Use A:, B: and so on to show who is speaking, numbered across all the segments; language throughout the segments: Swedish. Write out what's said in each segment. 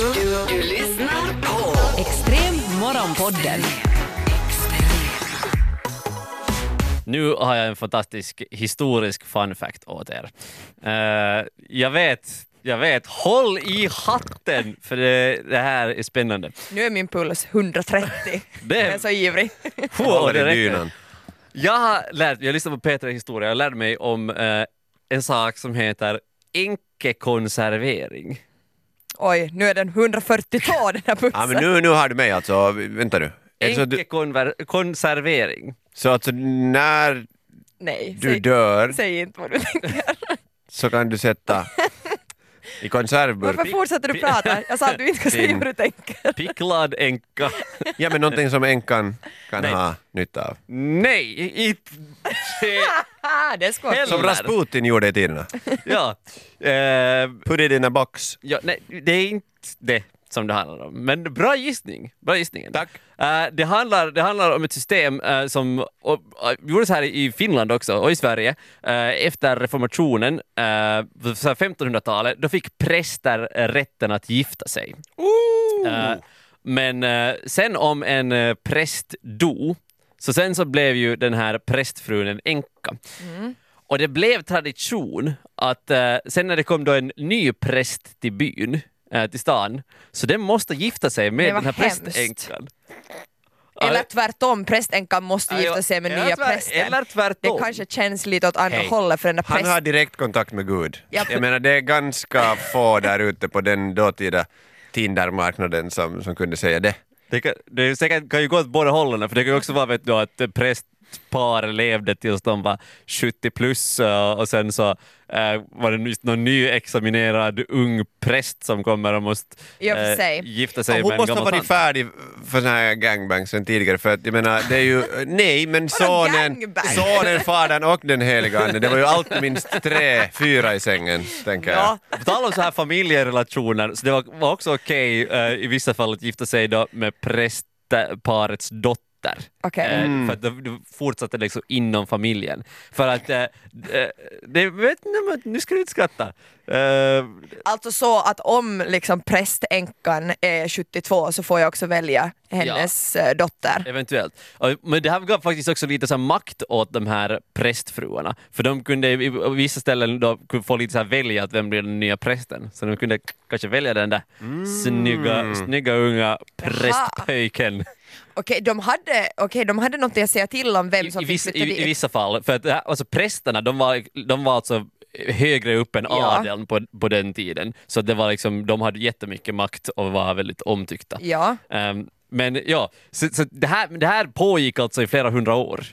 A: Du lyssnar på
B: Extrem morgonpodden.
C: Nu har jag en fantastisk historisk fun fact åt er. Eh, jag vet, jag vet, håll i hatten för det, det här är spännande.
D: Nu är min puls 130.
C: Det-
D: Jag är så ivrig.
C: Puh, det
E: Håller i
C: räcker.
E: dynan.
C: Jag har lärt, jag lyssnade på Petra Historia, jag lärde mig om eh, en sak som heter enkekonservering.
D: Oj, nu är den 142 den här
E: Ja,
D: pulsen.
E: men nu, nu har du mig alltså, vänta nu. Är det Så, att du,
C: Enkekonservering.
E: så alltså när
D: Nej,
E: du
D: säg,
E: dör
D: säg inte vad du tänker.
E: så kan du sätta i
D: Varför
E: konservburk.
D: fortsätter du prata? Jag sa att du inte ska säga
E: Din-
D: hur du tänker.
C: Picklad enka.
E: Ja men någonting som änkan kan
C: Nej.
E: ha nytta av.
C: Nej, inte...
D: Ah, det är skoj.
C: Hell-
E: Som
C: Eller-
E: Rasputin gjorde i tiderna.
C: Ja. Eh,
E: Put it in a box.
C: Ja, nej, det är inte det som det handlar om. Men bra gissning. Bra gissning. ändå.
E: Tack.
C: Eh, det, handlar, det handlar om ett system eh, som och, eh, gjordes här i Finland också och i Sverige eh, efter reformationen, uh, 1500-talet. Då fick präster eh, rätten att gifta sig. Eh, men eh, sen om en eh, präst dog, så sen så blev ju den här prästfrun en änka.
D: Mm.
C: Och det blev tradition att eh, sen när det kom då en ny präst till byn, eh, till stan, så den måste gifta sig
D: Det
C: med
D: var
C: den här
D: hemskt.
C: prästänkan.
D: Eller tvärtom, prästänkan måste
C: Ja,
D: gifta
C: ja.
D: sig med
C: Eller
D: nya
C: tvär-
D: prästen.
C: eller tvärtom.
D: Det kanske känns lite åt andra
E: Hej.
D: hållet för den där
E: Han har
D: prästen.
E: direkt kontakt med Gud.
D: Japp.
E: Jag menar det är ganska få där ute på den dåtida Tindermarknaden som, som kunde säga det.
C: Det kan, det är säkert, kan ju gå åt båda hållen, för det kan ju också vara vet du, att eh, prästpar levde tills de var 70 plus eh, och sen så eh, var det just någon nyexaminerad ung präst som kommer och måste
D: I och för
C: eh,
D: sig.
C: gifta sig
E: Ja,
C: med
E: hon
C: en
E: måste ha
C: gammal
E: varit
C: tant.
E: färdig för sån här gangbang sen tidigare för att jag menar det är ju, nej men sonen,
D: gangbang?
E: sonen, fadern och den heliga ande, det var ju alltid minst tre, fyra i sängen tänker jag.
D: Ja,
C: På tal om så här familjerelationer, så det var, var också okej eh, i vissa fall att gifta sig då med prästparets dotter.
D: Okej.
C: Eh, För att det, det fortsatte liksom inom familjen. För att, eh, eh, det, vet, ni, men nu ska du inte skratta. Eh,
D: Alltså så att om liksom prästänkan är 72 så får jag också välja hennes eh, dotter.
C: Eventuellt. Ja, Men det här gav faktiskt också lite så här makt åt de här prästfruarna. För de kunde i i vissa ställen då kunde få lite så här välja att vem blir den nya prästen. Så de kunde kanske välja den där snygga, snygga unga prästpöjken.
D: Okej, de hade, okay, de hade något att säga till om vem som
C: I, i,
D: fick
C: vissa,
D: flytta
C: i, I
D: dit.
C: vissa fall. För att det här, alltså, prästerna de var, de var alltså högre upp än
D: Ja.
C: adeln på, på den tiden. Så det var liksom, de hade jättemycket makt och var väldigt omtyckta.
D: Ja.
C: Ehm, men ja, så, så det, här, det här pågick alltså i flera hundra år.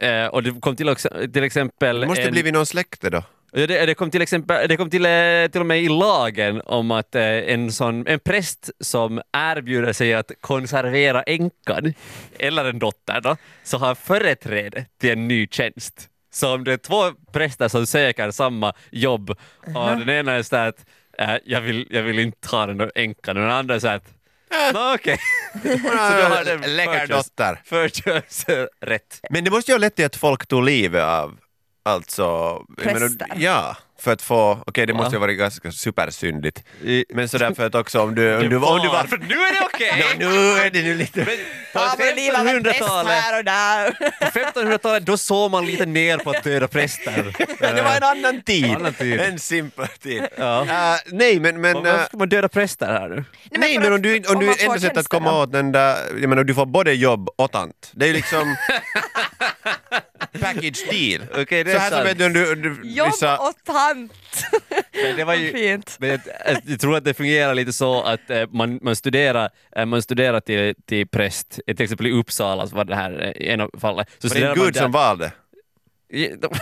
C: Eh, och det kom till, också, till exempel...
E: Det måste
C: en,
E: blivit någon släkte då.
C: Ja, det, det kom till exempel, det kom till, eh, till och med i lagen om att eh, en, sån, en präst som erbjuder sig att konservera änkan, eller en dotter då, så har företräde till en ny tjänst. Så om det är två präster som söker samma jobb och den ena är så här att eh, jag, vill, jag vill inte ha den där änkan och den andra är så här att "Nå, okej.
E: Hon
C: Så då
E: har
C: har
E: en
C: den
E: läcker
C: förkörs-
E: dotter.
C: förkörsrätt.
E: Men det måste ju ha lett till att folk tog livet av Alltså, jag menar,
D: Präster.
E: ja, för att få, okej det
C: Ja.
E: måste ju ha varit ganska supersyndigt. Men sådär för att också om du, om du, om du var...
C: För nu är det okej!
E: Ja, nu är det nu lite...
C: På
D: Ja, men livet av en präst
C: 1500-talet
D: här och där.
C: På 1500-talet då såg man lite ner på att döda präster.
E: Men det var en annan tid.
C: Annan tid.
E: En simpel tid.
C: Ja.
E: Äh, nej, men... men
C: Varför
E: äh,
C: ska man döda präster här nu?
D: men
E: Nej,
D: för
E: men
D: att-
E: om du, om
D: om
E: du
D: man får
E: ändå sätt att
D: tjänsterna.
E: komma åt den där, jag menar du får både jobb och tant. Det är ju liksom package deal.
C: Okej, det
E: Så
C: är
E: här som
C: sant.
E: vet du, om du, om du
D: Jobb
E: vissa,
D: och tant.
C: Men det var
D: Vad fint.
C: Men jag, jag tror att det fungerar lite så att eh, man, man studerar, eh, man studerar till, till präst, Eh, till exempel i Uppsala så var det här eh, i ena fallet. Så
E: var det en
C: man
E: gud
C: där-
E: som valde?
C: I- de-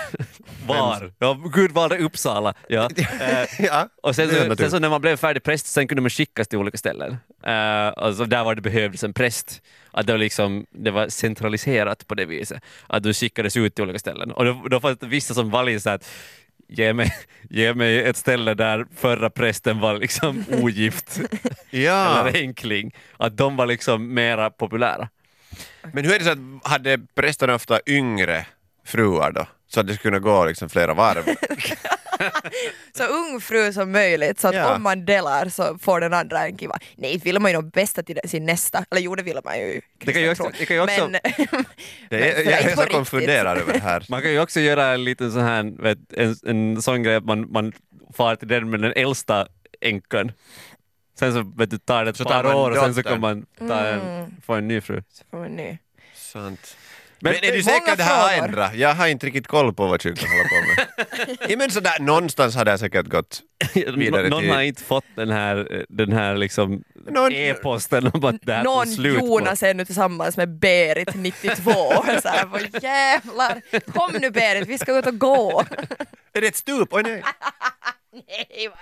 C: Var? Ja, Gud valde Uppsala. Ja. Eh,
E: Ja,
C: Och sen,
E: det är
C: så, sen
E: naturligt.
C: så när man blev färdig präst sen kunde man skickas till olika ställen. Eh, alltså där var det behövdes en präst. Att det, var liksom, det var centraliserat på det viset. Att du skickades ut till olika ställen. Och då, då fanns det vissa som valde så här att ge mig, ge mig ett ställe där förra prästen var liksom ogift
E: ja.
C: eller enkling. Att de var liksom mera populära.
E: Men hur är det så att, hade prästen ofta yngre fruar då? Så att det skulle kunna gå liksom flera varv?
D: så ung fru som möjligt så att
E: Ja.
D: om man delar så får den andra en kiva. Nej, inte vill man ju nog bästa till sin nästa, eller jo det vill man ju.
C: Det kan ju
D: kristen
C: också-
D: tro.
C: det kan ju också-
D: Men,
E: Det är,
D: men sådär,
E: jag, jag är
D: inte på
E: så
D: riktigt.
E: konfunderad över det här.
C: Man kan ju också göra en liten sån här, vet, en, en sån grej att man, man far till den med den äldsta änkan. Sen så vet du, tar det ett
E: Så tar
C: par
E: man
C: år och sen så
E: dottern.
C: kan man ta en,
D: Mm.
C: få en ny fru.
D: Så får man nu.
E: Sant.
C: Men
E: Men, är du
D: många
E: säker att det här har
D: frågor.
E: ändrat? Jag har inte riktigt koll på vad kyrkan håller på med. ja, men sådär, någonstans har det här säkert gått vidare
C: Nå- Någon
E: till...
C: har inte fått den här, den här liksom
E: Någon-
C: e-posten om att det här
D: Någon
C: tog slut på.
D: Jonas är nu tillsammans med Berit 92 så här, vad jävlar, kom nu Berit, vi ska ut och gå.
E: Är det ett stup? Oj nej!
D: Nej, vad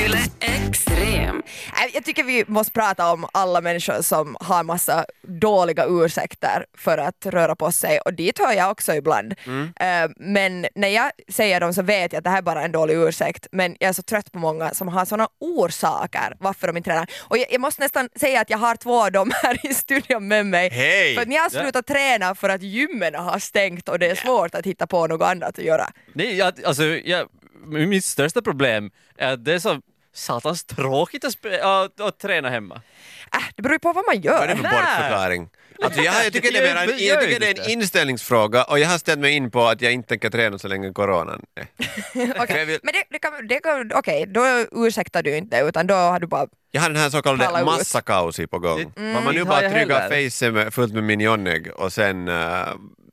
B: Yle Extrem.
D: Nej, Äh, Jag tycker vi måste prata om alla människor som har massa dåliga ursäkter för att röra på sig och dit hör jag också ibland.
E: Mm.
D: Eh, Men när jag säger dem så vet jag att det här är bara en dålig ursäkt men jag är så trött på många som har sådana orsaker varför de inte tränar. Och jag, jag måste nästan säga att jag har två av dem här i studion med mig.
E: Hej!
D: För att ni har slutat träna för att gymmen har stängt och det är svårt att hitta på något annat att göra.
C: Nej, jag, alltså, jag, mitt största problem är att det är så satans tråkigt att, spe- att, att träna hemma.
D: Äh, det beror ju på vad man
E: Vad är det
D: gör.
E: för
C: Nej.
E: bortförklaring? Alltså jag, jag tycker, det är, mer en,
C: Gör
E: jag
C: ju
E: tycker det är
C: inte.
E: en inställningsfråga och jag har ställt mig in på att jag inte tänker träna så länge coronan är. För jag, vill,
D: Men det, det kan, det kan, okej, då ursäktar du inte utan då har du bara
E: jag har den här så
D: Palla
E: kallade
D: ut.
E: massakausi på gång.
C: Det-
E: Var man nu
C: Inte
E: bara
C: har jag
E: tryggar
C: heller.
E: facen med, fullt med minjonägg och sen uh,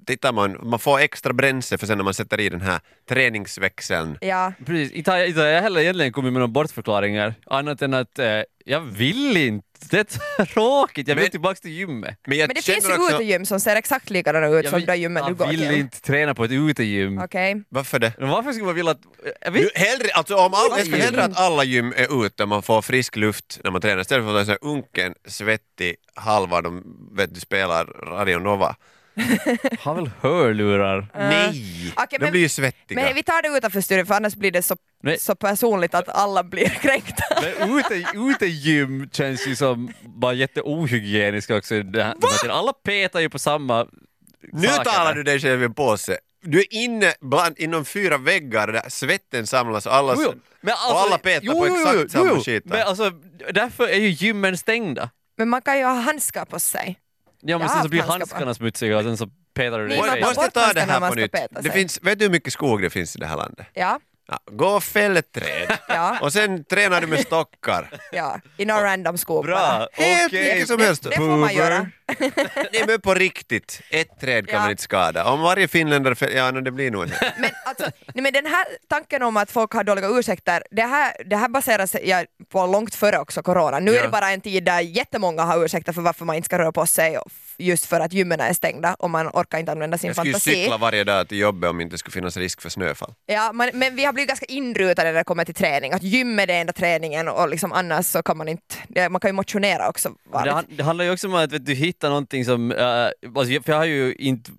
E: tittar man, man får extra bränsle för sen när man sätter i den här träningsväxeln.
D: Ja,
C: Precis, inte har jag, inte har jag heller egentligen kommit med några bortförklaringar annat än att eh, jag vill inte, det är tråkigt, jag vill
E: Men-
C: tillbaka till gymmet.
E: jag
D: men det
E: känner
D: finns ju utegym som ser exakt likadana ut
C: Jag
D: som
C: vill,
D: de gymmen du
C: jag
D: går
C: vill
D: till.
C: inte träna på ett utegym.
D: Okej.
E: Varför det?
C: Men Varför skulle man vilja att... Jag vet,
E: Du, hellre, alltså om all, jag
C: Oj.
E: skulle hellre att alla gym är ute, man får frisk luft när man tränar istället för att vara så här unken, svettig, halva de vet du, spelar Radio Nova.
C: har väl hörlurar?
E: Nej!
D: Eh, Okej,
E: de
D: men-
E: blir ju svettiga.
D: Men vi tar det utanför studion för annars blir det så,
C: Nej.
D: så personligt att alla blir kränkta.
C: Men ute, utegym känns ju som bara jätteohygieniska också. Det här, den här tiden. Alla petar ju på samma
E: nu
C: saker.
E: talar du dig själv i en påse. Du är inne bland, inom fyra väggar där svetten samlas och alla,
C: Jo, jo. Men alltså,
E: och alla petar på exakt samma skit.
C: Men alltså, därför är ju gymmen stängda.
D: Men man kan ju ha handskar på sig.
C: Ja, men
D: Jag har
C: sen så
D: haft
C: blir
D: handskar på.
C: handskarna smutsiga och sen så petar du dig
D: Nej,
E: Må-
C: i
D: man
C: face.
E: Måste
D: tar bort
E: ta det
D: handskarna när
E: här
D: man
E: på
D: ska
E: nytt.
D: peta
E: Det
D: sig.
E: finns, vet du hur mycket skog det finns i det här landet?
D: Ja,
E: Ja, gå och fäll ett träd
D: ja,
E: och sen tränar du med stockar.
D: ja. I någon random skog
C: Bra,
D: bara.
E: Helt
C: okej.
E: vilket som helst.
D: Det får man göra.
E: Nej men på riktigt, ett träd kan
D: Ja.
E: man inte skada. Om varje finländare fäller, ja no, det blir nog en.
D: Men, alltså, nej, men den här tanken om att folk har dåliga ursäkter, det här, det här baseras ja, på långt före också corona. Nu är
E: Ja.
D: det bara en tid där jättemånga har ursäkter för varför man inte ska röra på sig och f- just för att gymmen är stängda och man orkar inte använda sin
E: Jag skulle ju
D: fantasi.
E: cykla varje dag till jobbet om det inte skulle finnas risk för snöfall.
D: Ja, men, men vi har blivit ganska inrutade när det kommer till träning, att gym är det enda träningen och liksom annars så kan man inte, det, man kan ju motionera också.
C: Men Det,
D: vanligt.
C: han- det handlar ju också om att vet, du hittar någonting som, eh, alltså, jag- för jag har ju inte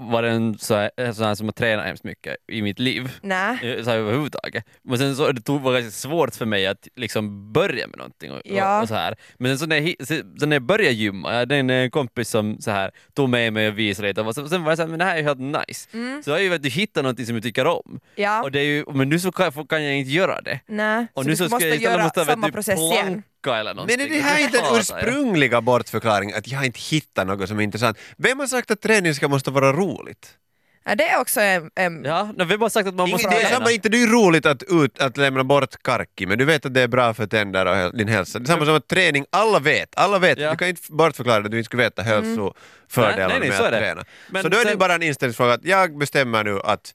C: varit en sån här, sån här som har tränat hemskt mycket i mitt liv.
D: Nej.
C: eh, Så här, överhuvudtaget. Men sen så det tog, var det ganska svårt för mig att liksom börja med någonting och,
D: Ja.
C: och, och så här. Men sen så när jag, hi- se- så när jag började gymma, jag hade en eh, kompis som så här, tog med mig och visade lite och så- sen var jag såhär, men det här är ju helt nice. Så jag har ju vet, du hittar någonting som du tycker om.
D: Mm. Ja.
C: Och det är ju, men nu så kan, jag- kan jag inte göra det.
D: Nej.
C: Och
D: så
C: nu
D: du
C: så ska
D: måste
C: jag istället
D: göra
C: måste, vet
D: samma
C: du,
D: process
C: typ
D: igen.
C: planka eller någonting.
E: Men är det här inte den
C: hatar jag.
E: ursprungliga bortförklaringen att jag inte hittar något som är intressant? Vem har sagt att träning ska måste vara roligt?
D: Ja, det är också en, en
C: Ja, nej, vem har sagt att man måste
E: Ingen, det, är samma, inte, det är ju roligt att, ut, att lämna bort karki, men du vet att det är bra för tänder och hel- din hälsa. Det är samma som att träning, alla vet, alla vet.
C: Ja. Mm.
E: Du kan inte bortförklara att du inte skulle veta hälsofördelarna
C: Nej, nej, nej,
E: med
C: så
E: att
C: är det.
E: träna.
C: Men
E: så då är det
C: sen-
E: bara en inställningsfråga att jag bestämmer nu att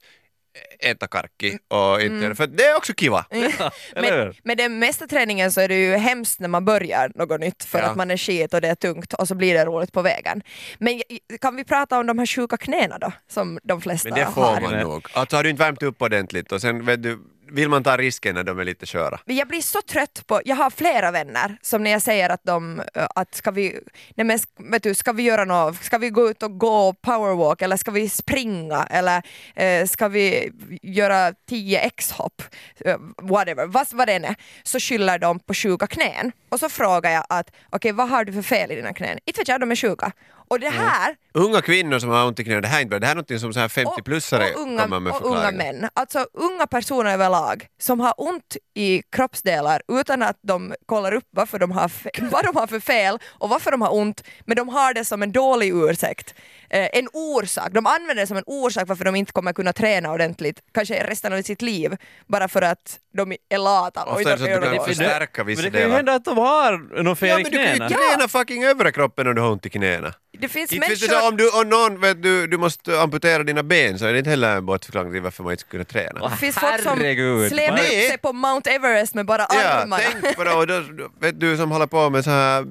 E: äta karki och inte
C: Mm.
E: göra- för det är också kiva.
C: Eller
D: Men,
C: hur?
D: med den mesta träningen så är det ju hemskt när man börjar något nytt för
E: Ja.
D: att man är skit och det är tungt och så blir det roligt på vägen. Men j- kan vi prata om de här sjuka knäna då, som de flesta
E: Men det
D: har?
E: får man
C: Nej.
E: nog. Alltså har du inte värmt upp ordentligt och sen vet du, vill man ta risken när de är lite sköra.
D: Men jag blir så trött på, jag har flera vänner som när jag säger att de, eh, att ska vi, nej men sk- vet du, ska vi göra något, ska vi gå ut och gå powerwalk eller ska vi springa eller eh, ska vi göra 10 x-hopp, eh, whatever, vad, vad det än är, så skyller de på sjuka knän. Och så frågar jag att okej vad har du för fel i dina knän? Inte vet jag, de är sjuka. Och det här
E: Unga kvinnor som har ont i knäna, det här är inte bra. Det här är något som så här
D: och-
E: 50-plussare
D: och unga-
E: kommer med
D: Och unga
E: förklaringar.
D: män. Alltså unga personer överlag lag som har ont i kroppsdelar utan att de kollar upp varför de har fe- vad de har för fel och varför de har ont, men de har det som en dålig ursäkt. Eh, en orsak. De använder det som en orsak varför de inte kommer kunna träna ordentligt, kanske resten av sitt liv, bara för att de är lata och
E: Ofta är
D: inte
E: det så att
D: orkar
E: du kan
D: göra något.
C: Men det-
E: förstärka
C: Men
E: vissa
C: det kan ju
E: delar.
C: hända att de har något
E: Ja,
C: fel i
E: men du kan ju
C: knäna.
E: träna fucking övre kroppen om du har ont i knäna.
D: Det finns
E: Inte finns det
D: människor...
E: så om du, om någon, vet du, du måste amputera dina ben så är det inte heller en bortförklaring till varför man inte ska kunna träna.
D: Det finns folk som
C: Herregud.
D: släpar
E: Nej.
D: upp sig på Mount Everest med bara
E: Ja,
D: armarna.
E: tänk på det, och då, då- vet du som håller på med så här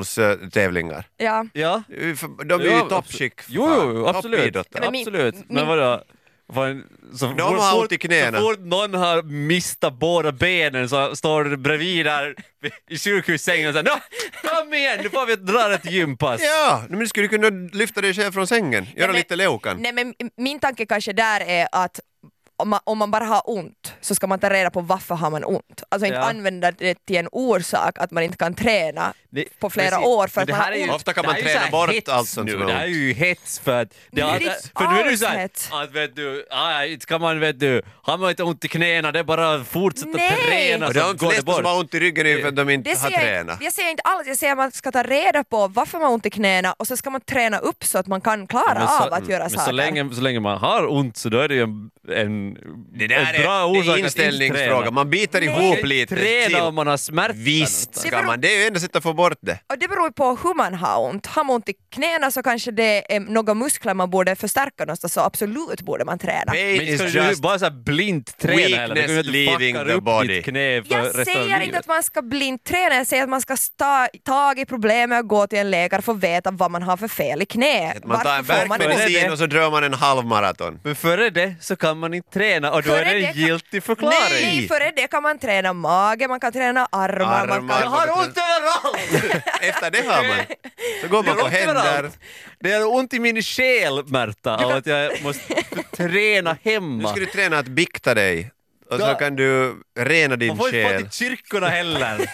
E: rullstolstävlingar.
D: Ja.
C: Ja.
E: De är ju
C: Ja,
E: i toppskick.
C: Jo,
E: fan.
C: jo, absolut.
E: Toppidrottare.
D: Men min-
C: absolut.
D: min-
C: Men vadå? Fan, Så de
E: har ont i knäna.
C: Så fort någon har mistat båda benen så står du bredvid där i sjukhussängen och säger "Nå, kom igen, nu får vi dra ett gympass.
E: Ja, men du skulle kunna lyfta dig själv från sängen, göra
D: men-
E: lite Leukan.
D: Nej men min tanke kanske där är att om man, om man bara har ont så ska man ta reda på varför har man ont. Alltså inte
C: Ja.
D: använda det till en orsak att man inte kan träna
C: Det-
D: på flera
C: precis.
D: år för
C: Men
D: att
C: det
D: man
C: här
D: har
C: är ju-
D: ont.
E: Ofta kan
C: det
E: man
C: här är
E: träna
C: ju så här
E: bort
C: hets
E: allt sånt
C: nu.
E: som är
C: Det här är
E: ont.
C: ju hets för att... Det
D: Men
C: har-
D: det är inte
C: för nu är det ju såhär
D: alls hets.
C: att vet du, ah, inte kan man vet du, har man inte ont i knäna det är bara att fortsätta
D: Nej.
C: träna
E: Och det är
C: så
E: de
C: går det
E: Alltså, flesta
C: bort.
E: som har ont i ryggen är ju för att de inte
D: Det
E: har
D: ser jag,
E: tränat.
D: inte, jag säger inte alls, jag säger att man ska ta reda på varför man har ont i knäna och så ska man träna upp så att man kan klara
C: Men så-
D: av att göra
C: men
D: saker.
C: Så länge, så länge man har ont så då är det ju en, en,
E: Det
C: en
E: där
C: bra
E: är, det
C: orsak
E: är
C: att
E: inställningsfråga,
C: inte träna.
E: man biter
D: Nej.
E: ihop lite.
C: Träna om
E: Chill.
C: man har smärta.
E: Visst
D: Det
E: ska
D: beror-
E: man, det är ju enda sättet att få bort det.
D: Och det beror ju på hur man har ont. Har man ont i knäna så kanske det är några muskler man borde förstärka någonstans så absolut borde man träna.
E: Pain
C: Men inte
E: is
C: ska du
E: just
C: bara såhär blint träna heller. Du kan ju
E: weakness
C: inte
E: leading
C: fucka
E: the
C: upp
E: body.
C: ditt knä för
D: Jag
C: resten av
D: säger inte
C: livet.
D: att man ska blint träna, jag säger att man ska ta tag i problemet och gå till en läkare för att veta vad man har för fel i knä.
E: att man tar en
D: Varför får man ont?
C: värkmedicin.
E: värkmedicin och så drar man en halvmaraton.
C: Men före det så kan man inte träna och då
D: Före
C: är det
D: det
C: en
D: kan-
C: giltig förklaring.
D: Nej, före det kan man träna mage, man kan träna armar, man
E: Armar.
D: kan...
C: Jag har ont överallt!
E: Efter det har man. Så går man
C: Det gör
E: på
C: ont
E: händer.
C: överallt. Det är ont i min själ, Märta, av att jag måste träna
E: Nu
C: hemma.
E: ska du träna att bikta dig. Och så
C: Ja.
E: kan du rena
C: Man
E: din
C: får inte få
E: själ.
C: till kyrkorna heller.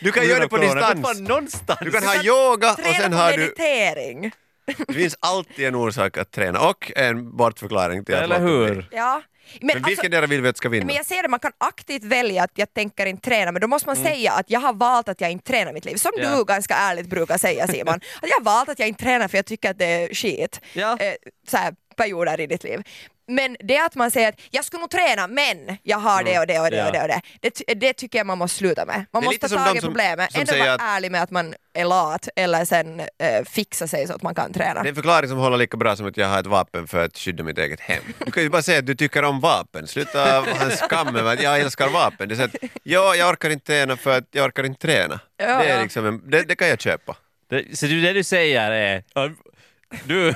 E: Du kan göra det på
C: Corona.
E: distans.
C: Du kan fan någonstans.
E: Du kan ha yoga och
D: Träna
E: sen
D: på
E: har du...
D: meditering.
E: Det finns alltid en orsak att träna och en bortförklaring till att
C: Eller
E: låta
C: hur?
E: bli.
D: Ja. Men,
E: Men
D: alltså,
E: vilken där vill vi att ska vinna?
D: men jag säger det, man kan aktivt välja att jag tänker inte träna, men då måste man
E: Mm.
D: säga att jag har valt att jag inte tränar mitt liv. Som
C: Ja.
D: du ganska ärligt brukar säga Simon, att jag har valt att jag inte tränar för jag tycker att det är skit.
C: Ja.
D: Eh, så här, perioder i ditt liv. Men det att man säger att jag skulle nog träna men jag har det och det och det och det, och det. det, ty- det tycker jag man måste sluta med. Man
E: Mm. Det är
D: måste
E: lite
D: ta
E: som
D: tag
E: de
D: i
E: som-
D: problemet,
E: som
D: ändå
E: säger
D: vara
E: att-
D: ärlig med att man är lat eller sen eh, fixa sig så att man kan träna.
E: Det är en förklaring som håller lika bra som att jag har ett vapen för att skydda mitt eget hem. Du kan ju bara säga att du tycker om vapen. Sluta ha en skam över att jag älskar vapen. Det är så att, ja, jag orkar inte träna för att jag orkar inte träna. det, är
D: ja.
E: liksom en, det, det kan jag köpa.
C: Det, så det, det du säger är... äh, Du, du,
D: Ja,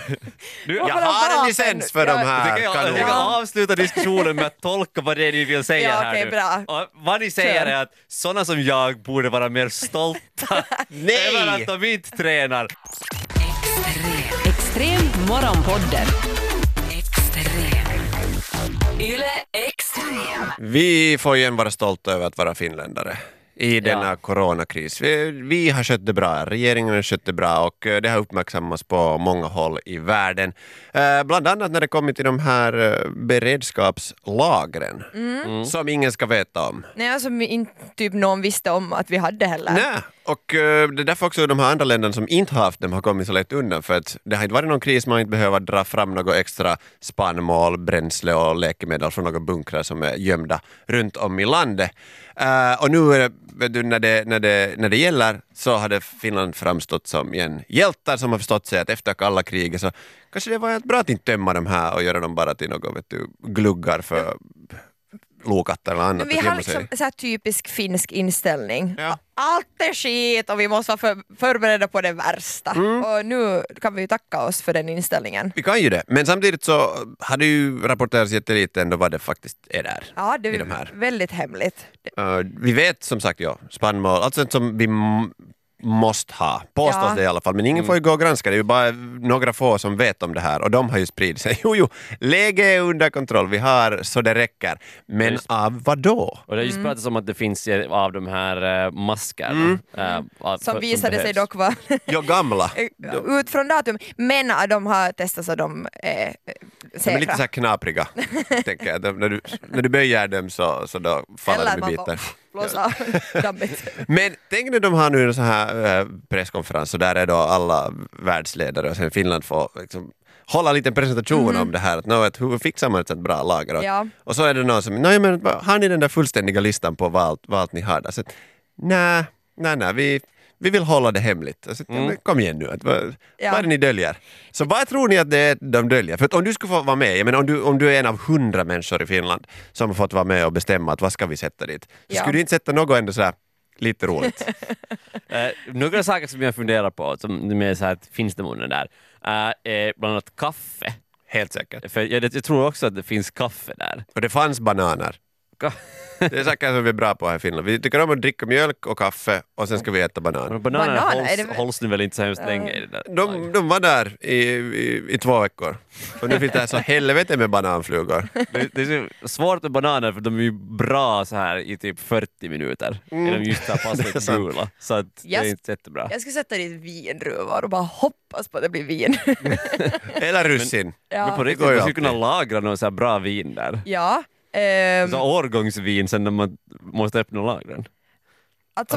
E: Jag
D: men de
E: har en
D: vapen-
E: licens för
D: ja,
E: de
C: jag
E: här
C: tycker jag, jag
E: kanonerna.
C: kan avsluta diskussionen med att tolka vad det är ni vill säga
D: Ja,
C: här
D: okej,
C: nu.
D: bra.
C: Och vad ni säger
D: Kör.
C: är att såna som jag borde vara mer stolta
E: Nej!
C: över att de inte tränar.
B: Extrem. Extrem morgonpodden. Extrem. Yle Extrem.
E: Vi får ju en vara stolta över att vara finländare i denna coronakris. Vi, vi har skött det bra, regeringen har skött det bra och eh, det har uppmärksammats på många håll i världen. Eh, bland annat när det kommer till de här eh, beredskapslagren som ingen ska veta om.
D: Nej, som inte typ någon visste om att vi hade heller.
E: Nej, och eh, det är därför också de här andra länderna som inte har haft dem har kommit så lätt undan för att det har inte varit någon kris, man har inte behövt dra fram något extra spannmål, bränsle och läkemedel från några bunkrar som är gömda runt om i landet. Eh, och nu är det, vet du, när, det, när, det, när det gäller så hade Finland framstått som en hjältar som har förstått sig att efter kalla kriget så kanske det var helt bra att inte tömma de här och göra dem bara till något vet du, gluggar för lokatter eller annat.
D: Men vi
E: att
D: har
E: gömma sig
D: liksom
E: i.
D: så här typisk finsk inställning.
E: Ja.
D: Allt är skit och vi måste vara för, förberedda på det värsta. Och nu kan vi ju tacka oss för den inställningen.
E: Vi kan ju det, men samtidigt så har det ju rapporterats jättelite ändå vad det faktiskt är där.
D: Ja, det
E: I
D: är
E: de här.
D: väldigt hemligt.
E: Eh, vi vet som sagt ja, spannmål, allt sånt som vi m- måste ha, påstås
D: Ja.
E: det i alla fall, men ingen får ju gå och granska, det är ju bara några få som vet om det här och de har ju spridit sig. Jo, jo, läget är under kontroll, vi har så det räcker. Men
C: Just.
E: av vad då?
C: Och det har just
D: Mm.
C: pratats om att det finns eh, av de här äh, maskarna. eh, av-
D: Mm. Som
C: för-
D: visade sig
C: behövs.
D: dock vara
E: Jo, gamla.
D: ut från datum. Men att de har testat så de är eh,
E: De
D: säkra.
E: är lite så här knapriga, tänker jag. De, när, du, när du böjer dem så, så då faller
D: Eller
E: de i
D: man får
E: bitar.
D: blåsa av dammet.
E: Men tänk när de har nu en sån här eh, presskonferens och där är då alla världsledare och sen Finland får liksom hålla en liten presentation om det här, att, nå, att hur fixar man ett sånt bra lager? Och-
D: Mm. Ja.
E: Och så är det någon som, nej men vad- har ni den där fullständiga listan på vad, allt- vad allt ni har där? Så, att, nej, nej, nej, vi, vi vill hålla det hemligt. Och Så, att, ja, men Kom igen nu, att, vad,
D: Mm. Ja.
E: vad är det ni döljer? Så vad tror ni att det är de döljer? För att om du skulle få vara med, jag menar, om, du, om du är en av hundra människor i Finland som har fått vara med och bestämma att vad ska vi sätta dit? Så
D: Ja.
E: skulle du inte sätta något ändå sådär lite roligt?
C: Eh, några saker som jag funderar på, som med så här, att finns det munnen där, eh, är bland annat kaffe.
E: Helt säkert.
C: För jag, jag tror också att det finns kaffe där.
E: Och det fanns bananer.
C: Ka-
E: Det är saker som vi är bra på här i Finland. Vi tycker om att dricka mjölk och kaffe och sen ska vi äta bananer.
C: Men Bananer
D: Bananer,
C: hålls,
D: är det-
C: hålls nu väl inte så hemskt
D: Ja.
C: länge i det där
E: De, de var där i, i, i två veckor. Och nu finns det här så helvete med bananflugor.
C: Det, det är så svårt med bananer för de är ju bra så här i typ 40 minuter. Mm. Är de just där
E: Det är
C: passligt
E: sant.
C: gula. Så att
D: Yes.
C: det är inte jättebra.
D: Jag skulle sätta dit vindruvor och bara hoppas på att det blir vin.
E: Eller russin.
C: Men på
D: ja.
C: riktigt,
E: går ju
C: man skulle kunna
E: alltid.
C: lagra någon så här bra vin där.
D: ja. ehm,
C: Så årgångsvin sen när man måste öppna lagren.
D: alltså,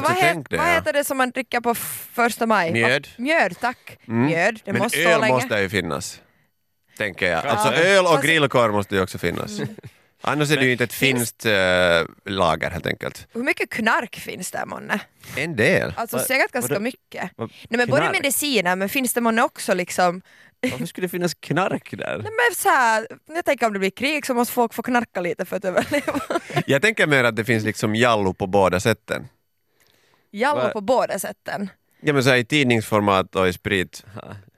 E: Alltså,
D: vad, he-
E: tänk det,
D: vad
E: ja.
D: heter det som man dricker på f- första maj?
E: Mjöd. Mm.
D: Vad- Mjöd, tack. Mjöd, det
E: Men
D: måste stå
E: öl
D: länge.
E: måste ju finnas. Tänker jag.
C: Ja.
E: Alltså öl och
D: Fast-
E: grillkorv måste ju också finnas.
D: Mm.
E: Annars är det ju inte ett finskt eh, lager helt enkelt.
D: Hur mycket knark finns där månne?
E: En del.
D: Alltså
C: Vad-
D: säkert ganska
C: vadå-
D: mycket.
C: Vad-
D: Nej, men både
C: knark?
D: mediciner, men finns det månne också liksom
C: Varför skulle det finnas knark där?
D: Nej, men så här, jag tänker om det blir krig så måste folk få knarka lite för att överleva.
E: Jag tänker mer att det finns liksom jallo på båda sätten.
D: Jallo
C: Va-
D: på båda sätten.
E: Ja men så här, i tidningsformat och i sprit.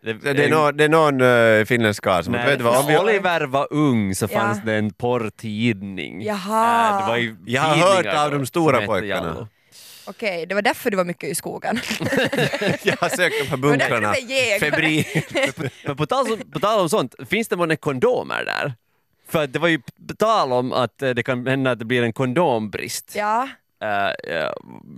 C: Det,
E: Det är, nå- det är någon uh, finländsk karl som...
C: Nej,
E: Vet du vad, om
C: när
E: vi,
C: Oliver var ung så
D: Ja.
C: fanns det en porrtidning.
D: Jaha.
C: Äh, det var ju
E: Jag har
C: tidningar
E: hört av
C: då
E: de stora
C: som hette
E: pojkarna.
C: Jallo.
D: Okej, det var därför du var mycket i skogen.
E: jag har sökt de här
D: var därför
E: bunkrarna
D: det var jägare.
E: febrilt.
C: Men på tal, om, på tal om sånt, finns det många kondomer där? För att det var ju på tal om att eh, det kan hända att det blir en kondombrist
D: ja.
C: eh, eh,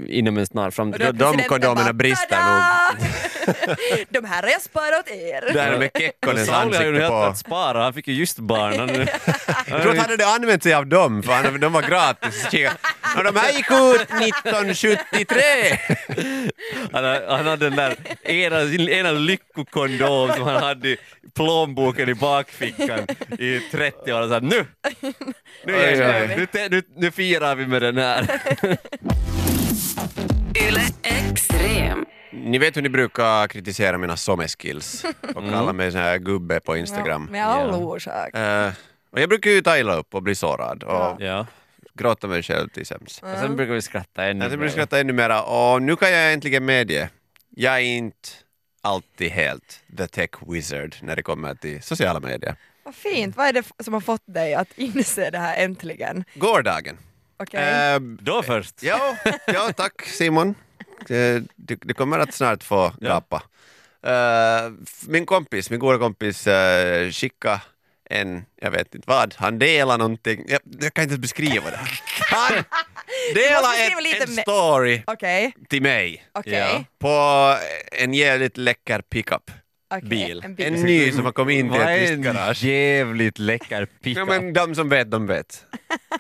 C: inom en snar framtid.
E: då- de kondomerna brister
D: nog. de här har jag sparat er.
E: Där med Kekkonens
C: Sauli har ju
E: ansikte
C: helt
E: på.
C: att spara, han fick ju just barn. Han,
E: Jag tror att han hade använt sig av dem, för han, de var gratis. Och de här gick ut 1973!
C: han, han hade den där ena, sin ena lyckokondom som han hade i plånboken i bakfickan i 30 år. Och så här, nu! Nu,
E: Oj,
C: jäklar,
E: oj.
C: nu, te- nu, nu firar vi med den här.
B: Yle Extrem.
E: Ni vet hur ni brukar kritisera mina someskills och kalla mig sån här gubbe på Instagram.
D: Med all orsak.
E: Eh, och jag brukar ju ta illa upp och bli sårad och
C: Ja.
E: gråta mig själv till sömns.
C: Och sen brukar vi skratta ännu
E: Jag ska
C: mer.
E: börja skratta ännu mera och nu kan jag äntligen medge, jag är inte alltid helt the tech wizard när det kommer till sociala medier.
D: Vad fint, vad är det f- som har fått dig att inse det här äntligen?
E: Gårdagen.
D: Okej.
E: Eh,
C: Då först.
E: ja, ja, tack Simon. Eh, Du, du kommer att snart få gapa. Eh, f- min kompis, min goda kompis uh, skickade en, jag vet inte vad, han delade någonting, jag, jag kan inte beskriva det. Han delade
D: beskriva lite
E: en, en
D: mer.
E: story
D: Okej,
E: till mig.
D: okej.
E: på en jävligt läcker pickup.
D: Okej,
E: Bil.
D: en
E: En,
D: bil.
E: ny som har kommit in till
C: Vad
E: ett
C: är
E: visst
C: en
E: garage.
C: jävligt läcker
E: Ja,
C: pickup?
E: men de som vet, de vet.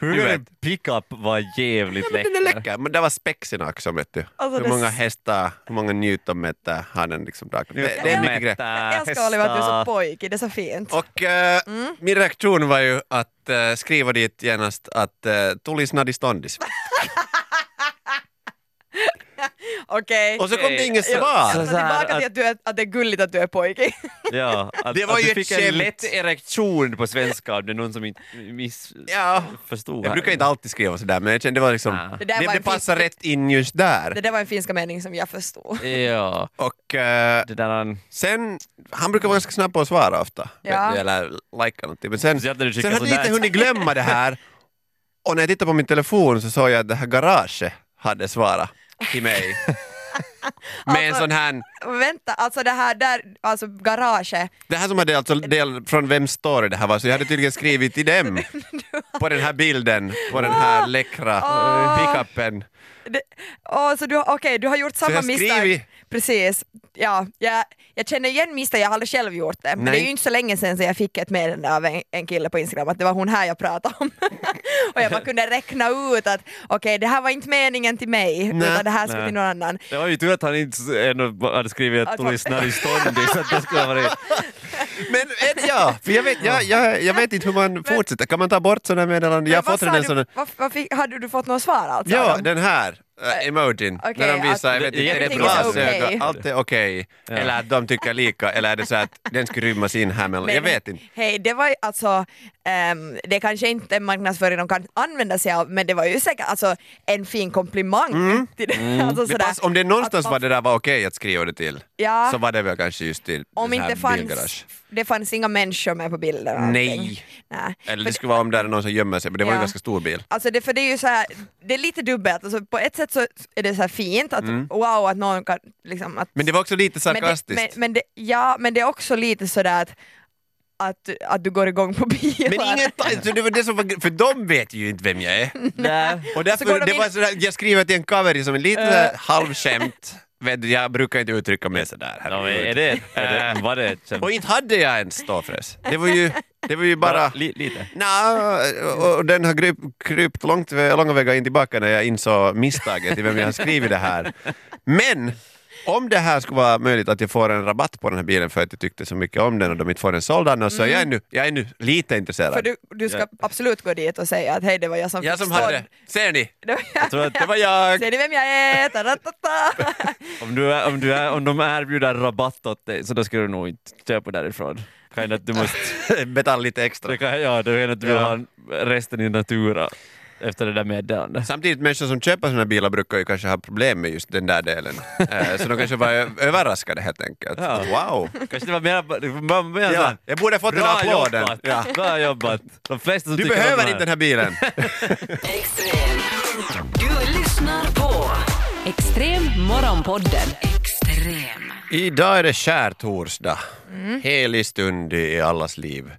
C: Hur
E: du
C: kan
E: vet.
C: en pickup vara jävligt
E: Men den är
C: läcker?
E: läcker. Men det var spexen också, vet du.
D: Alltså,
E: hur
D: det-
E: många hästar, hur många newtonmeter har den liksom dragit. Det, det är mycket grejer.
D: Jag älskar Oliver att du är så pojkig, det är så fint.
E: Äh, Och eh,
D: Mm.
E: min reaktion var ju att eh, skriva dit genast att uh, tulis nadi ståndis.
D: Okej.
E: Och så kom det inget
C: Ja,
E: svar.
C: så-
D: Så tillbaka till att, du är, att det är gulligt att du är pojkig.
C: Ja, att,
E: Det var
C: att
E: ju
C: du
E: ett
C: fick
E: skämt.
C: en lätt erektion på svenska om det är någon som inte missförstod.
E: Ja. Jag
C: här.
E: brukar inte alltid skriva sådär men jag kände det var liksom,
C: Ah.
D: Det
E: det,
D: där var
E: det,
D: en
E: passar
D: fin-
E: rätt in just där.
D: Det där var en finska mening som jag förstod.
C: Ja,
E: Och eh,
C: det där han...
E: Sen, han brukar vara ganska snabb på att svara ofta,
D: Ja.
E: vet du, eller likea någonting. Men sen,
C: Speciellt när du skickar
E: sen hade jag
C: sådär.
E: lite hunnit glömma det här. Och när jag tittade på min telefon så såg jag att det här garaget hade svarat till mig. Med en
D: Alltså-
E: sån här,
D: Vänta, alltså det här där, alltså garaget.
E: det här som hade alltså del från vem story det här var, så jag hade tydligen skrivit till dem på den här bilden, på den här läckra
D: Åh.
E: pickupen.
D: Det, åh, så du, har- okej, du har gjort
E: jag
D: samma
E: har
D: misstag.
E: skrivit.
D: Precis. Ja, jag, jag känner igen misstag, jag har aldrig själv gjort det. Men
E: Nej.
D: det är ju inte så länge sedan så jag fick ett meddelande av en, en kille på Instagram att det var hon här jag pratade om. och jag bara kunde räkna ut att okej, det här var inte meningen till mig,
E: Nej.
D: utan det här skulle
C: Nej.
D: till någon annan.
C: Det var ju tur att han inte ändå hade skrivit att
D: Att
C: du
D: man-
C: lyssnar i ståndig, så att det skulle ha varit...
E: Men ett ja! För jag, vet, jag, jag, jag vet inte hur man fortsätter. Kan man ta bort sådana meddelanden? Jag har
D: Men vad
E: fått
D: sa
E: redan
D: du-
E: sådana.
D: vad, vad fick, hade du fått något svar alltså?
E: Ja,
D: Adam?
E: den här äh, emojin.
D: Eh, Okej, alltså,
E: när de visar,
D: att-
E: jag vet inte, är det
D: Everything
E: bra
D: is okay.
E: allt är okej. Eller att de tycker lika, eller är det så att den skulle rymmas in här mellan, jag vet inte.
D: Hej, det var ju alltså, ehm, det kanske inte är marknadsföring de kan använda sig av, men det var ju säkert alltså, en fin komplimang.
E: Mm.
D: Till det. Alltså,
E: Det
D: sådär,
E: pass, om det någonstans
D: att
E: var
D: man-
E: det där var okej att skriva det till,
D: Ja.
E: så var det väl kanske just till
D: Om
E: sån här
D: inte fanns,
E: bilgarage.
D: det fanns inga människor med på bilden. och
E: Nej.
D: allting. Nej.
E: Eller det skulle vara om där är någon som gömmer sig, men det var ju
D: Ja.
E: en ganska stor bil.
D: Alltså det, för det är ju så här, det är lite dubbelt, alltså på ett sätt så är det så här fint att wow att någon kan liksom att
E: Mm. Men det var också lite
D: men det, men,
E: sarkastiskt.
D: men det, ja, men det är också lite sådär att, att, att du går igång på bilar.
E: Men inget, så det var det som var, för de vet ju inte vem jag är.
C: Nej.
E: Och
D: går
E: därför,
D: de
E: det
D: in-
E: var sådär, jag skriver till en cover som är lite uh. halvskämt, vet du, jag brukar inte uttrycka mig sådär. Äh.
C: Ja, men är det, är det, var det ett skämt?
E: Och inte hade jag en ståfräs. Det var ju, det var ju bara...
C: Li, lite.
E: Nja, och- och den har kryp, krypt långt, vä- långa vägar in tillbaka när jag insåg misstaget i vem jag har skrivit det här. Men om det här skulle vara möjligt att jag får en rabatt på den här bilen för att jag tyckte så mycket om den och de inte får den såld annars så jag är nu, jag är nu lite intresserad.
D: Mm. För du, du ska
C: Ja.
D: absolut gå dit och säga att hej det var jag som
E: jag
D: fick
E: som
D: stånd."
E: hade, ser ni?
D: Det var jag.
C: Jag tror att
E: Det var jag!
D: Ser ni vem jag är? Ta-ra-ta-ta.
C: om, du är, om, du är, om de erbjuder rabatt åt dig så då ska du nog inte köpa därifrån. Kan hända att du måste...
E: Betala lite extra.
C: Det kan, ja, det kan hända att du vill
E: Ja.
C: ha resten i natura efter det där meddelandet.
E: Samtidigt, människor som köper sådana här bilar brukar ju kanske ha problem med just den där delen. Eh, Så de kanske var ö- överraskade helt enkelt.
C: Ja.
E: Att, Wow!
C: Kanske det var mer, det var mer så
E: Ja,
C: här,
E: jag borde ha fått den här applåden.
C: jobbat!
E: Ja.
C: Bra jobbat! De flesta som
E: Du
C: tycker om
E: behöver
C: det
E: inte den här bilen.
B: Extrem. Du lyssnar på Extrem Morgonpodden. Extrem.
E: Idag är det skärtorsdag. Helig stund i allas liv.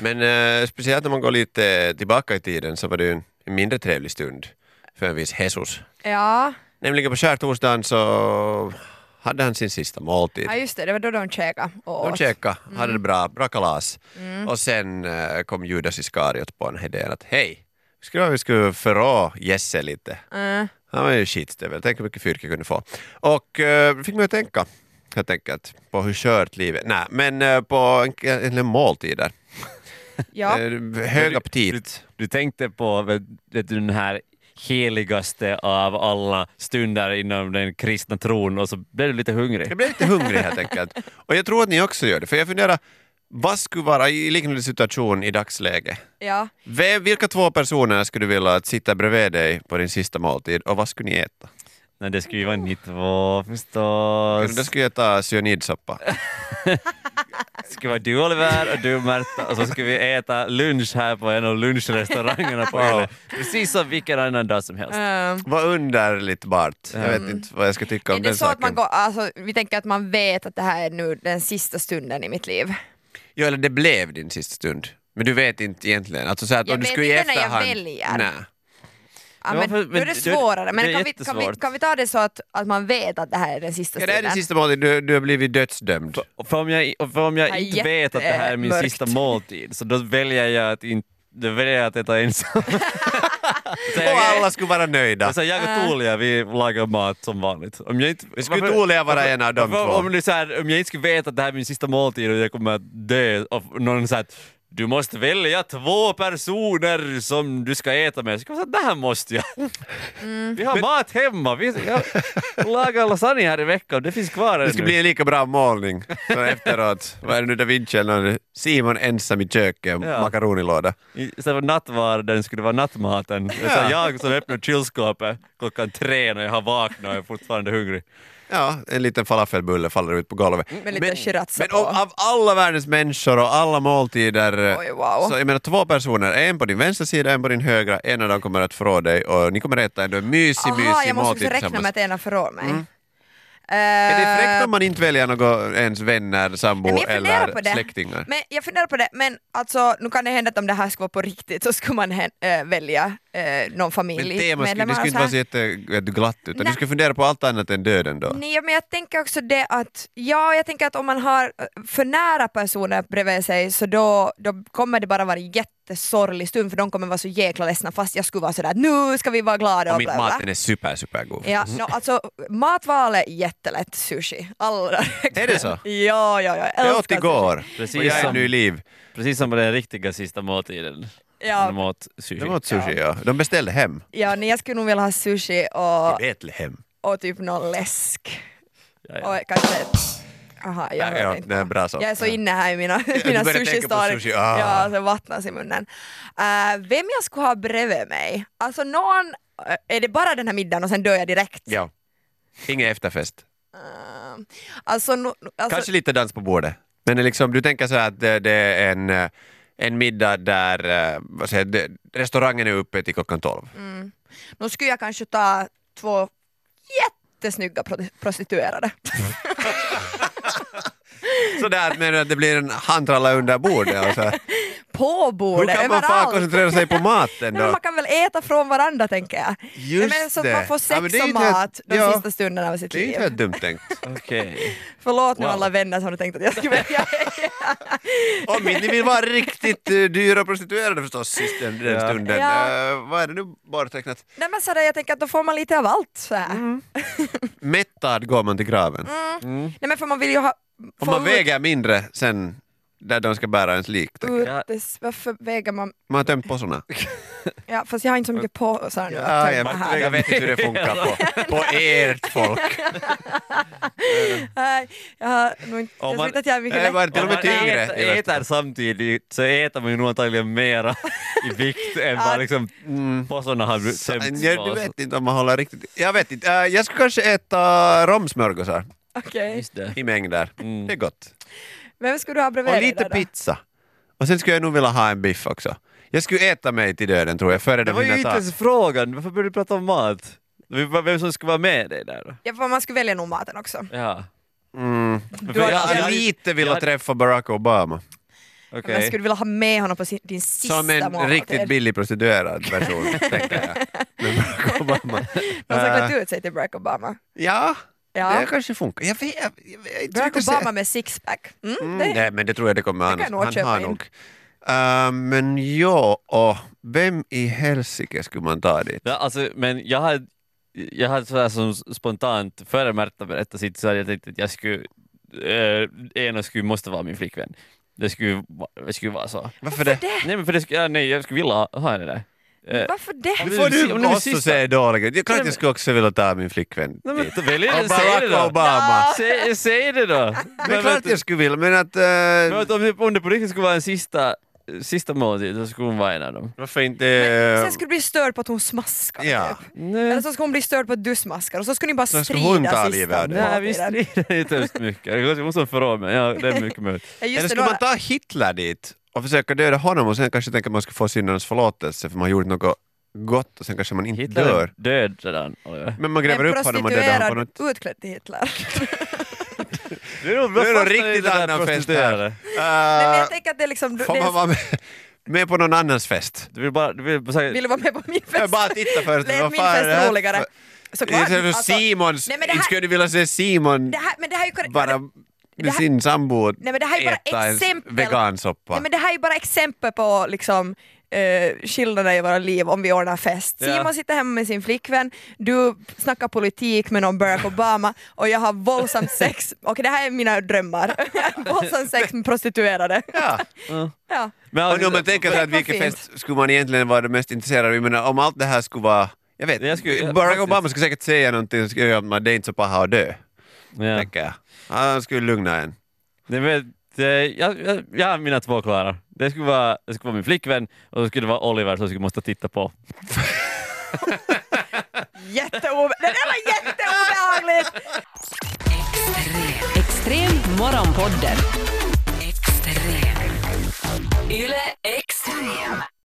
E: Men eh, speciellt om man går lite tillbaka i tiden så var det ju en en mindre trevlig stund för en viss Jesus.
D: ja.
E: Nämligen på skärtorsdagen så hade han sin sista måltid.
D: ja, just det, det var då de käkade och
E: De
D: åt.
E: käkade, hade det bra, bra kalas. Och sen eh, kom Judas Iskariot på den här idén att hej, skulle vi skulle förrå Jesse lite.
D: Mm.
E: Han var ju skitstövel, tänk hur mycket fyrk jag kunde få. Och eh, det fick mig att tänka, helt enkelt, på hur skört livet Nej, men eh, på en, en, en måltid där.
D: Ja.
E: Eh, hög
C: Du,
E: aptit.
C: du tänkte på vet, vet du, den här heligaste av alla stunder inom den kristna tron och så blev du lite hungrig.
E: Jag blev lite hungrig helt enkelt. Och jag tror att ni också gör det, för jag funderar, vad skulle vara i liknande situation i dagsläget?
D: ja.
E: Ve- Vilka två personer skulle du vilja att sitta bredvid dig på din sista måltid och vad skulle ni äta?
C: Nej, det skulle ju vara ni två
E: Då
C: förstås. Det
E: skulle jag äta cyanidsoppa.
C: skulle vara du Oliver och du Märta och så skulle vi äta lunch här på en av lunchrestaurangerna på Yle. Precis som vilken annan dag som helst.
D: Mm.
E: Vad underligt Bart. Jag vet inte vad jag ska tycka om
D: Är det
E: den
D: så att man
E: saken.
D: går, alltså, vi tänker att man vet att det här är nu den sista stunden i mitt liv.
E: Ja, eller det blev din sista stund. Men du vet inte egentligen. Alltså så att
D: Jag
E: om du
D: vet
E: skulle i
D: inte när jag
E: efterhand...
D: väljer.
E: Nej.
D: Ja,
C: Ja,
D: men,
C: för-
D: då
C: men
D: är det
C: det-
D: svårare, men
C: det är
D: kan, vi, kan, vi,
C: jättesvårt.
D: kan vi ta det så att, att man vet att det här är den sista
E: Ja, det
D: stunden?
E: är din sista måltid. Du, du har blivit dödsdömd.
C: Och för om jag, och för om jag
D: Ja,
C: inte vet att det här är min
D: jättemörkt.
C: sista måltid så då väljer jag att, in, då väljer jag att äta ensam. så
E: Och
C: jag,
E: alla skulle vara nöjda.
C: Alltså jag och Tulia, vi lagar mat som vanligt. Om jag inte,
E: Men skulle
C: varför-
E: Tulia vara
C: varför-
E: en av de
C: varför-
E: två?
C: Om, du så här, om jag inte skulle veta att det här är min sista måltid och jag kommer att dö och någon säger att du måste välja två personer som du ska äta med. Så kommer jag säga, det här måste jag.
D: Mm.
C: Vi har mat hemma. Vi jag lagar lasagne här i veckan. Det finns kvar
E: Det skulle
C: ännu.
E: bli en lika bra målning. Så efteråt, vad är det nu Da Vinci eller någon? Simon ensam i köket,
C: Ja.
E: makaronilåda.
C: Istället för nattvarden skulle det vara nattmaten. Så
E: Ja.
C: jag som öppnar kylskåpet klockan tre när jag har vaknat och jag är fortfarande hungrig.
E: Ja, en liten falafelbulle faller ut på golvet.
D: Mm, Med lite shirazza
E: men
D: på.
E: av, av alla världens människor och alla måltider, eh,
D: Oj, wow.
E: så jag menar två personer, en på din vänstra sida, en på din högra, en av dem kommer att förråda dig och ni kommer att äta ändå en mysig,
D: Aha,
E: mysig
D: jag måste också
E: måltid
D: räkna med
E: tillsammans. Mm.
D: att ena förrår mig.
E: Är det fräckt om man inte väljer någon ens vänner, sambo
D: Nej, Eh, men jag funderar på
E: eller
D: det.
E: släktingar?
D: Men jag funderar på det, men alltså nu kan det hända att om det här skulle vara på riktigt så skulle man hen- eh, välja eh, någon familj.
E: Men temat skulle,
D: medlemmar
E: det
D: och
E: skulle inte
D: här.
E: vara så jätteglatt utan du
D: Nej.
E: skulle fundera på allt annat än döden då.
D: Nej men jag tänker också det att, ja jag tänker att om man har eh, för nära personer bredvid sig så då, då kommer det bara vara en jättesorglig stund för de kommer vara så jäkla ledsna fast jag skulle vara sådär nu ska vi vara glada
E: Om
D: och
E: inte
D: bla bla.
E: maten är Mm. super, super god.
D: Ja, no, alltså matvalet är jättelätt sushi. Allra
E: Är det så?
D: Ja, ja, ja.
E: Jag
D: Jag
E: åt
D: älskar sushi.
E: igår
C: Precis
E: och jag är
C: som-
E: nu i liv.
C: Precis som på den riktiga sista måltiden.
D: Ja.
C: Man åt sushi.
E: De åt sushi ja. De beställde hem.
D: Ja, nej, jag skulle nog vilja ha sushi och,
E: I Betlehem.
D: och typ någon läsk.
C: Ja, ja.
D: Och kanske... Aha, jag
E: Ja,
D: hörde
E: ja,
D: inte.
E: det är bra så.
D: Jag är så inne här i mina, mina
E: börjar tänka på
D: sushi-story.
E: sushi, ah.
D: ja, så vattnas i munnen. Eh, vem jag skulle ha bredvid mig? Alltså någon... eh, Är det bara den här middagen och sen dör jag direkt?
E: Ja. Ingen efterfest.
D: Eh, alltså, no, alltså...
E: Kanske lite dans på bordet. Men det är liksom, du tänker så här att det, det är en, eh, en middag där eh, vad säger, jag, det, restaurangen är uppe till klockan tolv.
D: Mm. Nu skulle jag kanske ta två jättesnygga pro- prostituerade.
E: Sådär, men att det blir en handtralla under bordet. Och så här.
D: På
E: Hur
D: bordet,
E: kan man fan
D: överallt.
E: koncentrera sig på maten
D: Nej, men
E: då?
D: man kan väl äta från varandra tänker jag.
E: Just
D: Nej, men så att
E: det.
D: man får
E: Ja, men det
D: sex
E: är
D: och
E: inte helt-
D: mat de
E: ja.
D: sista stunderna av sitt
E: Det är ju
D: liv.
E: inte helt dumt tänkt.
C: Okej.
D: Förlåt nu
C: Wow.
D: alla vänner som du tänkte att jag skulle välja.
E: Om inte ni vill vara riktigt eh, dyra prostituerade förstås just den, den
C: Ja.
E: stunden.
D: Ja.
E: Eh, vad är det nu borttecknat?
D: Nej men sådär, jag tänker att då får man lite av allt så här.
E: Mättad går man till graven.
D: Mm, Nej men för man vill ju ha...
E: Om
D: få
E: man
D: ut-
E: väger mindre sen där de ska bära ens lik. tänker jag.
D: ut det- Varför väger man?
E: Man har tömt påsarna.
D: Ja fast jag har inte så mycket påsar nu att
E: Ja,
D: tömma
E: jag,
D: här.
E: vet- jag vet inte hur det funkar på, på ert folk.
D: Nej, jag har nog inte...
C: Om man-
D: Jag tror inte att jag är mycket
E: Nej,
D: lätt.
E: var det till och
C: Om man
E: med tyngre?
C: äter,
E: i värsta
C: äter samtidigt så äter man ju nog antagligen mera i vikt än
E: Ah.
C: vad liksom påsarna har blivit
E: fall.
C: tömts
E: Jag
C: på.
E: jag vet inte om man håller riktigt... Jag vet inte. Eh, Jag skulle kanske äta romsmörgåsar
D: Okej.
C: Just det.
E: i mängder. Det är gott.
D: Vem skulle du ha bredvid
E: Och
D: dig
E: lite
D: där då?
E: pizza. Och sen skulle jag nog vilja ha en biff också. Jag skulle äta mig till döden tror jag, före
C: Det
E: de
C: var ju
E: hinner
C: inte
E: ta...
C: ens frågan, varför började du prata om mat? Vem som ska vara med dig där då?
D: Ja, för man skulle välja nog maten också.
C: Ja,
E: Mm.
C: För
D: Du har-
E: Jag hade
D: jag-
E: lite velat
C: jag-
E: träffa Barack Obama.
C: okej.
D: Men skulle du vilja ha med honom på sin, din sista
E: Som en
D: måltid?
E: riktigt billig prostituerad person, tänker jag. Men Barack Obama.
D: Någon som
E: Äh,
D: klätt ut sig till Barack Obama.
E: ja,
D: Ja.
E: det kanske funkar. Jag vet, jag, jag, vet inte
D: Barack
E: riktigt så-
D: Obama med sixpack. Mm,
E: Mm,
D: det,
E: nej, men det tror jag det kommer
D: kan
E: annars.
D: jag nog
E: Han
D: köpa
E: har
D: in.
E: nog. Äh, men ja, och vem i helsike skulle man ta dit?
C: Ja, alltså, men jag hade, jag hade sådär som spontant, före Märta berättade sitt, så hade jag tänkt att jag skulle, eh, ena skulle, måste vara min flickvän. Det skulle, va- det skulle vara så.
E: Varför det?
D: det?
C: Nej men för det skulle, ja, nej jag skulle vilja ha- ha henne där. Eh,
D: Varför det?
C: Om
E: Nu
C: det
E: får
C: är-
E: du
C: om det är
E: också
C: sista-
E: säga dåliga grejer. Klart
C: Nej, men-
E: jag skulle också vilja ta min flickvän
C: nej men
E: dit.
C: då väljer
E: Och
C: jag säg det
E: Barack
C: då!
E: Obama.
C: Säg, säg det då!
E: Det är
C: Men
E: klart
C: vet-
E: jag skulle vilja, men att... eh,
C: men att om, det- om det på riktigt skulle vara en sista, sista måltid så skulle hon vara en av dem.
E: varför inte...
D: Sen skulle du bli störd på att hon smaskar.
E: Ja.
D: Typ. Eller
C: Nej,
D: så skulle hon bli störd på att du smaskar och så skulle ni bara
E: Så
D: strida
E: ska hon ta
D: sista
E: livet av dig.
C: nej
D: måltiden.
C: vi strider inte hemskt mycket. Jag kanske måste förråda mig, ja det är mycket möjligt.
D: Ja,
E: Eller
D: just det,
E: skulle
D: då,
E: man ta Hitler dit och försöka döda honom och sen kanske tänka att man ska få syndernas förlåtelse för man har gjort något gott och sen kanske man inte
C: Hitler är
E: dör.
C: död redan, Oliver.
E: Men man gräver upp honom och dödar honom på något...
D: prostituerad utklädd till Hitler.
C: Det är nog
E: Nu är det en riktigt annan fest här.
D: Nej, men jag
E: Uh,
D: tänker att det är liksom... Det,
E: får man vara med, med på någon annans fest?
C: Du vill bara... Du vill bara säga,
D: vill du vara med på min
E: Jag
D: fest?
E: bara titta först.
D: Blev
E: vad
D: min
E: fan är det
D: fest
E: här
D: roligare?
E: för-
D: Såklart.
E: Det är så här
D: Alltså,
E: Simons...
D: Nej, men det
E: Inte
D: här-
E: skulle du vilja se Simon
D: det här, men det här är ju korrekt.
E: bara
D: här-
E: med sin sambo
D: Nej, men det här är bara
E: äta en
D: exempel.
E: vegansoppa?
D: Nej, men det här är ju bara exempel på liksom, eh, skillnader i våra liv om vi ordnar fest.
C: Ja.
D: Simon sitter hemma med sin flickvän, du snackar politik med någon Barack Obama och jag har våldsamt sex, okej det här är mina drömmar, våldsamt sex med prostituerade.
E: Ja.
D: Ja.
C: men,
E: Och nu om man tänker sig att
D: Vad
E: vilken
D: fint.
E: fest skulle man egentligen vara det mest intresserad av? Jag menar om allt det här skulle vara... Jag vet,
C: Jag skulle- ja,
E: Barack
C: faktiskt.
E: Obama skulle säkert säga någonting skulle göra att man- det är inte så paha att dö,
C: ja.
E: tänker jag. Han skulle lugna en.
C: Nej, men, eh, jag, jag, jag har mina två klara. Det skulle vara, det skulle vara min flickvän och det skulle vara Oliver som skulle måste titta på.
D: Jätteobe- det där var jätteobehagligt!
B: Extrem morgonpodden. Extrem. Yle Extrem.